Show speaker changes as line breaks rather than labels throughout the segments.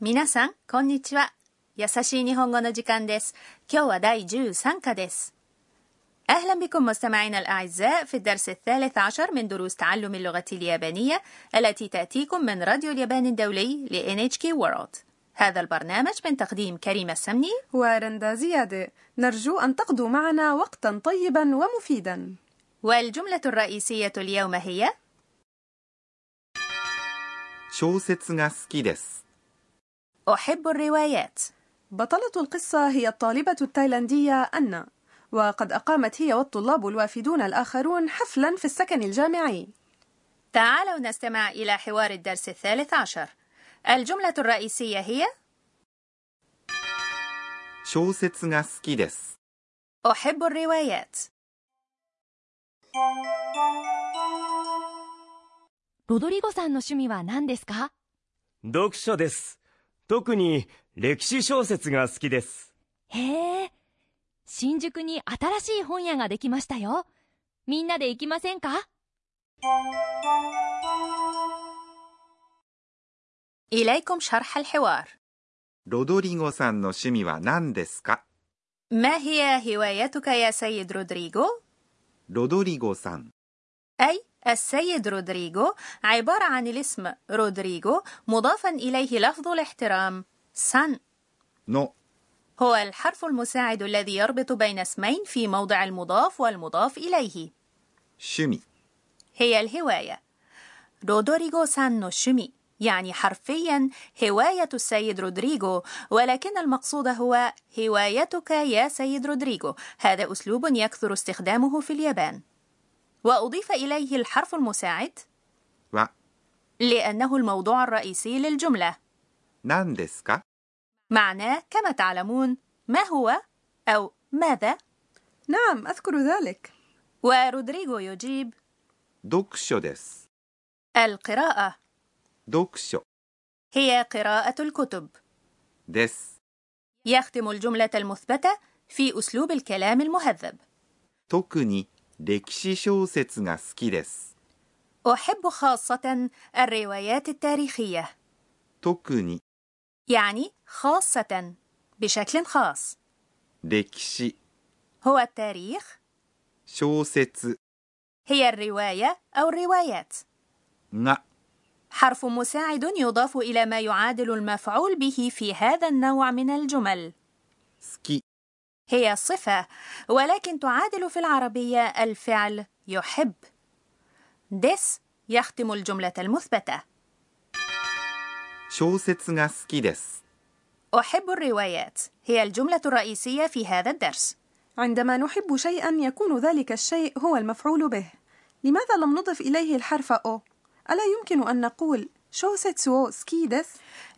皆さん、こんにちは。優しい日本語の時間です。今日は第13課です。أهلا بكم مستمعينا الأعزاء في الدرس الثالث عشر من دروس تعلم اللغة اليابانية التي تأتيكم من راديو اليابان الدولي ل NHK World. هذا البرنامج من تقديم كريم السمني
ورندا زيادة. نرجو أن تقضوا معنا وقتا طيبا ومفيدا.
والجملة الرئيسية اليوم هي
小説が好きです
أحب الروايات
بطلة القصة هي الطالبة التايلاندية أنا وقد أقامت هي والطلاب الوافدون الآخرون حفلا في السكن الجامعي
تعالوا نستمع إلى حوار الدرس الثالث عشر الجملة الرئيسية هي
小説が好きです
أحب الروايات
ロドリゴさんの趣味は何ですか
読書です。特に歴史小説が好きです。
へえ。新宿に新しい本屋ができましたよ。みんなで行きませんか
ロドリゴさんの趣味は何ですかロドリゴさん。
أي السيد رودريجو عبارة عن الاسم رودريجو مضافا إليه لفظ الاحترام سان
نو no.
هو الحرف المساعد الذي يربط بين اسمين في موضع المضاف والمضاف إليه
شمي
هي الهواية رودريجو سان نو شمي يعني حرفيا هواية السيد رودريجو ولكن المقصود هو هوايتك يا سيد رودريجو هذا أسلوب يكثر استخدامه في اليابان وأضيف إليه الحرف المساعد
و
لأنه الموضوع الرئيسي للجملة
何ですか
معناه كما تعلمون ما هو أو ماذا
نعم أذكر ذلك
ورودريغو يجيب
読書です
القراءة
読書
هي قراءة الكتب
です
يختم الجملة المثبتة في أسلوب الكلام المهذب
特に歴史小説が好きです
أحب خاصة الروايات التاريخية
特に
يعني خاصة بشكل خاص
歴史
هو التاريخ
小説
هي الرواية أو الروايات
が
حرف مساعد يضاف إلى ما يعادل المفعول به في هذا النوع من الجمل
好き
هي صفة ولكن تعادل في العربية الفعل يحب دس يختم الجملة المثبتة
小説が好きです
أحب الروايات هي الجملة الرئيسية في هذا الدرس
عندما نحب شيئا يكون ذلك الشيء هو المفعول به لماذا لم نضف إليه الحرف أو؟ ألا يمكن أن نقول شوستسو سكيدس؟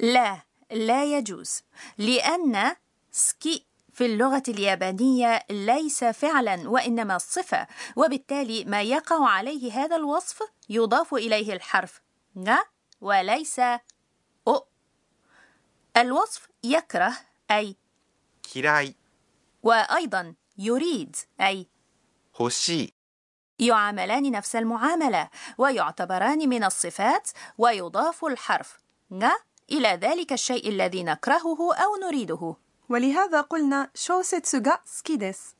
لا لا يجوز لأن سكي في اللغة اليابانية ليس فعلا وإنما صفة وبالتالي ما يقع عليه هذا الوصف يضاف إليه الحرف ن وليس أو الوصف يكره أي
嫌い
وأيضا يريد أي
欲しい
يعاملان نفس المعاملة ويعتبران من الصفات ويضاف الحرف ن إلى ذلك الشيء الذي نكرهه أو نريده
ولهذا قلنا شوستسوغا سكيدس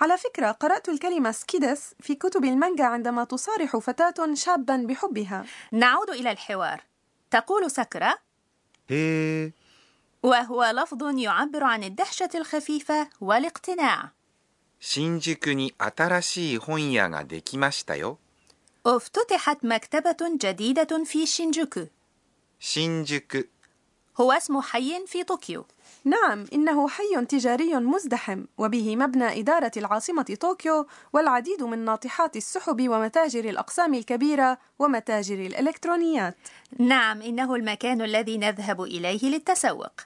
على فكرة قرأت الكلمة سكيدس في كتب المانجا عندما تصارح فتاة شابا بحبها
نعود إلى الحوار تقول سكرة
هي
وهو لفظ يعبر عن الدهشة الخفيفة والاقتناع
新宿に新しい本屋ができましたよ
افتتحت مكتبة جديدة في شينجوكو
新宿
هو اسم حي في طوكيو
نعم إنه حي تجاري مزدحم وبه مبنى إدارة العاصمة طوكيو والعديد من ناطحات السحب ومتاجر الأقسام الكبيرة ومتاجر الإلكترونيات
نعم إنه المكان الذي نذهب إليه للتسوق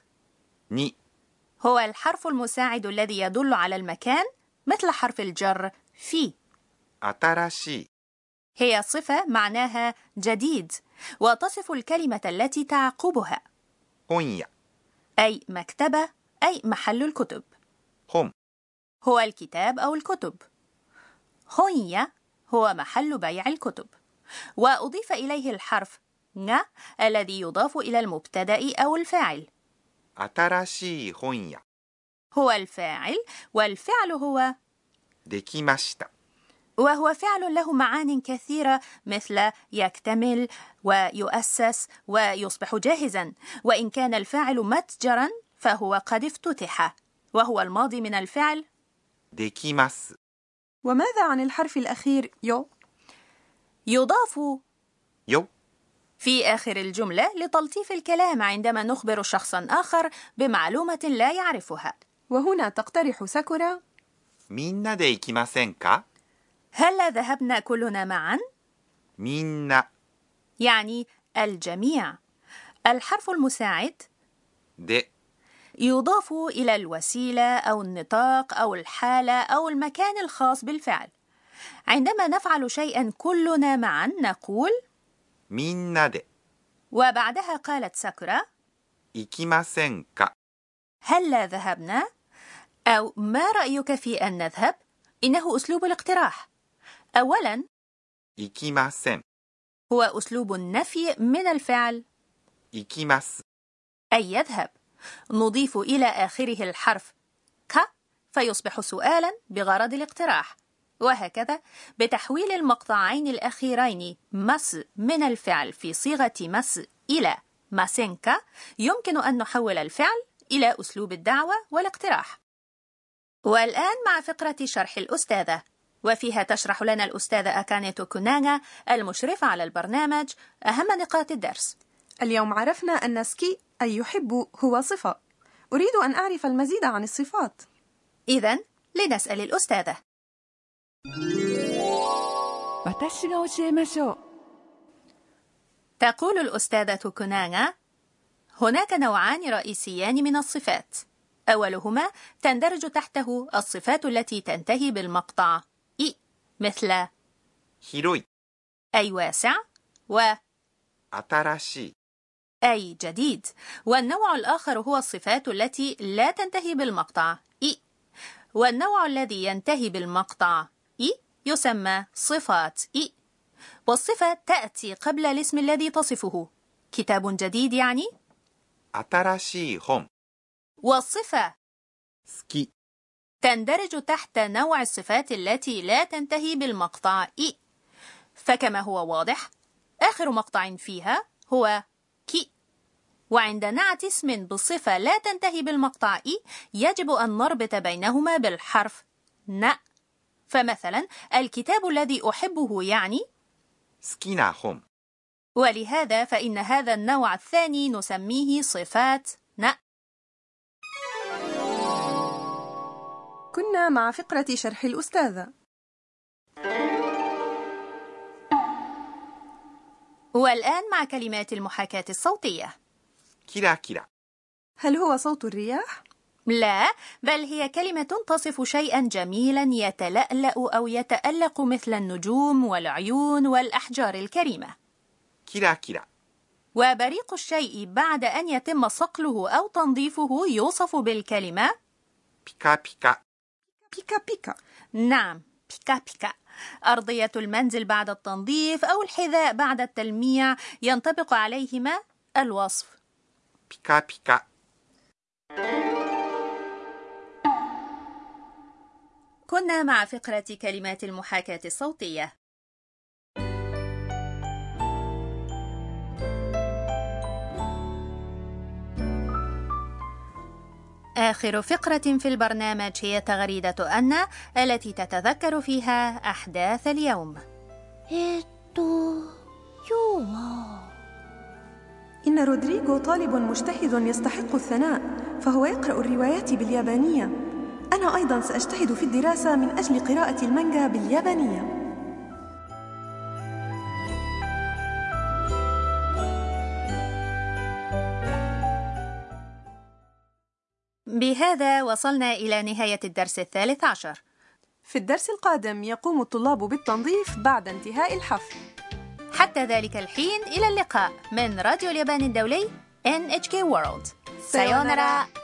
ني
هو الحرف المساعد الذي يدل على المكان مثل حرف الجر في
新しい
هي صفة معناها جديد وتصف الكلمة التي تعقبها
本屋
أي مكتبة أي محل الكتب
本
هو الكتاب أو الكتب هونيا هو محل بيع الكتب وأضيف إليه الحرف がالذي يضاف إلى المبتدأ أو الفاعل
新しい本屋
هو الفاعل والفعل هو
できました
وهو فعل له معان كثيرة مثل يكتمل ويؤسس ويصبح جاهزا وإن كان الفاعل متجرا فهو قد افتتح وهو الماضي من الفعل
できます
وماذا عن الحرف الأخير يو؟
يضاف
よ
في آخر الجملة لتلطيف الكلام عندما نخبر شخصا آخر بمعلومة لا يعرفها
وهنا تقترح ساكورا
みんなで行きませんか
هلا ذهبنا كلنا معا؟
みんな
يعني الجميع الحرف المساعد
で
يضاف إلى الوسيلة أو النطاق أو الحالة أو المكان الخاص بالفعل. عندما نفعل شيئا كلنا معا نقول
みんなで
وبعدها قالت ساكورا
行きませんか
هلا ذهبنا أو ما رأيك في أن نذهب؟ إنه أسلوب الاقتراح. أولا
行きません
هو أسلوب النفي من الفعل
行きます
أي يذهب. نضيف إلى آخره الحرف ك فيصبح سؤالا بغرض الاقتراح وهكذا بتحويل المقطعين الأخيرين مس من الفعل في صيغة مس إلى مسنكا يمكن أن نحول الفعل إلى أسلوب الدعوة والاقتراح والآن مع فقرة شرح الأستاذة وفيها تشرح لنا الأستاذة أكانيتو كوناغا المشرفة على البرنامج أهم نقاط الدرس
اليوم عرفنا أن سكي أي يحب هو صفة أريد أن أعرف المزيد عن الصفات
إذا لنسأل الأستاذة
私が教えましょう
تقول الأستاذة كونانا: هناك نوعان رئيسيان من الصفات. أولهما تندرج تحته الصفات التي تنتهي بالمقطع إي مثل
広い
أي واسع و
新しい
أي جديد والنوع الآخر هو الصفات التي لا تنتهي بالمقطع إي والنوع الذي ينتهي بالمقطع إي يسمى صفات إي والصفة تأتي قبل الاسم الذي تصفه كتاب جديد يعني
新しい本
والصفة
好き
تندرج تحت نوع الصفات التي لا تنتهي بالمقطع إي فكما هو واضح آخر مقطع فيها هو كي وعند نعت اسم بصفة لا تنتهي بالمقطع إي يجب أن نربط بينهما بالحرف ن فمثلا الكتاب الذي أحبه يعني
好きな本
ولهذا فإن هذا النوع الثاني نسميه صفات ن
كنا مع فقرة شرح الأستاذة
والآن مع كلمات المحاكاة الصوتية
キラキラ
هل هو صوت الرياح؟
لا بل هي كلمة تصف شيئا جميلا يتلألأ أو يتألق مثل النجوم والعيون والأحجار الكريمة
キラキラ
وبريق الشيء بعد أن يتم صقله أو تنظيفه يوصف بالكلمة
ピカピカ
بيكا بيكا
نعم بيكا بيكا أرضية المنزل بعد التنظيف أو الحذاء بعد التلميع ينطبق عليهما الوصف
ピカピカ
كنا مع فقرة كلمات المحاكاة الصوتية آخر فقرة في البرنامج هي تغريدة أن التي تتذكر فيها أحداث اليوم
えーっと今日は
إن رودريغو طالب مجتهد يستحق الثناء فهو يقرأ الروايات باليابانية أنا أيضا سأجتهد في الدراسة من أجل قراءة المانجا باليابانية
بهذا وصلنا إلى نهاية الدرس الثالث عشر
في الدرس القادم يقوم الطلاب بالتنظيف بعد انتهاء الحفل
حتى ذلك الحين إلى اللقاء من راديو اليابان الدولي NHK World さようなら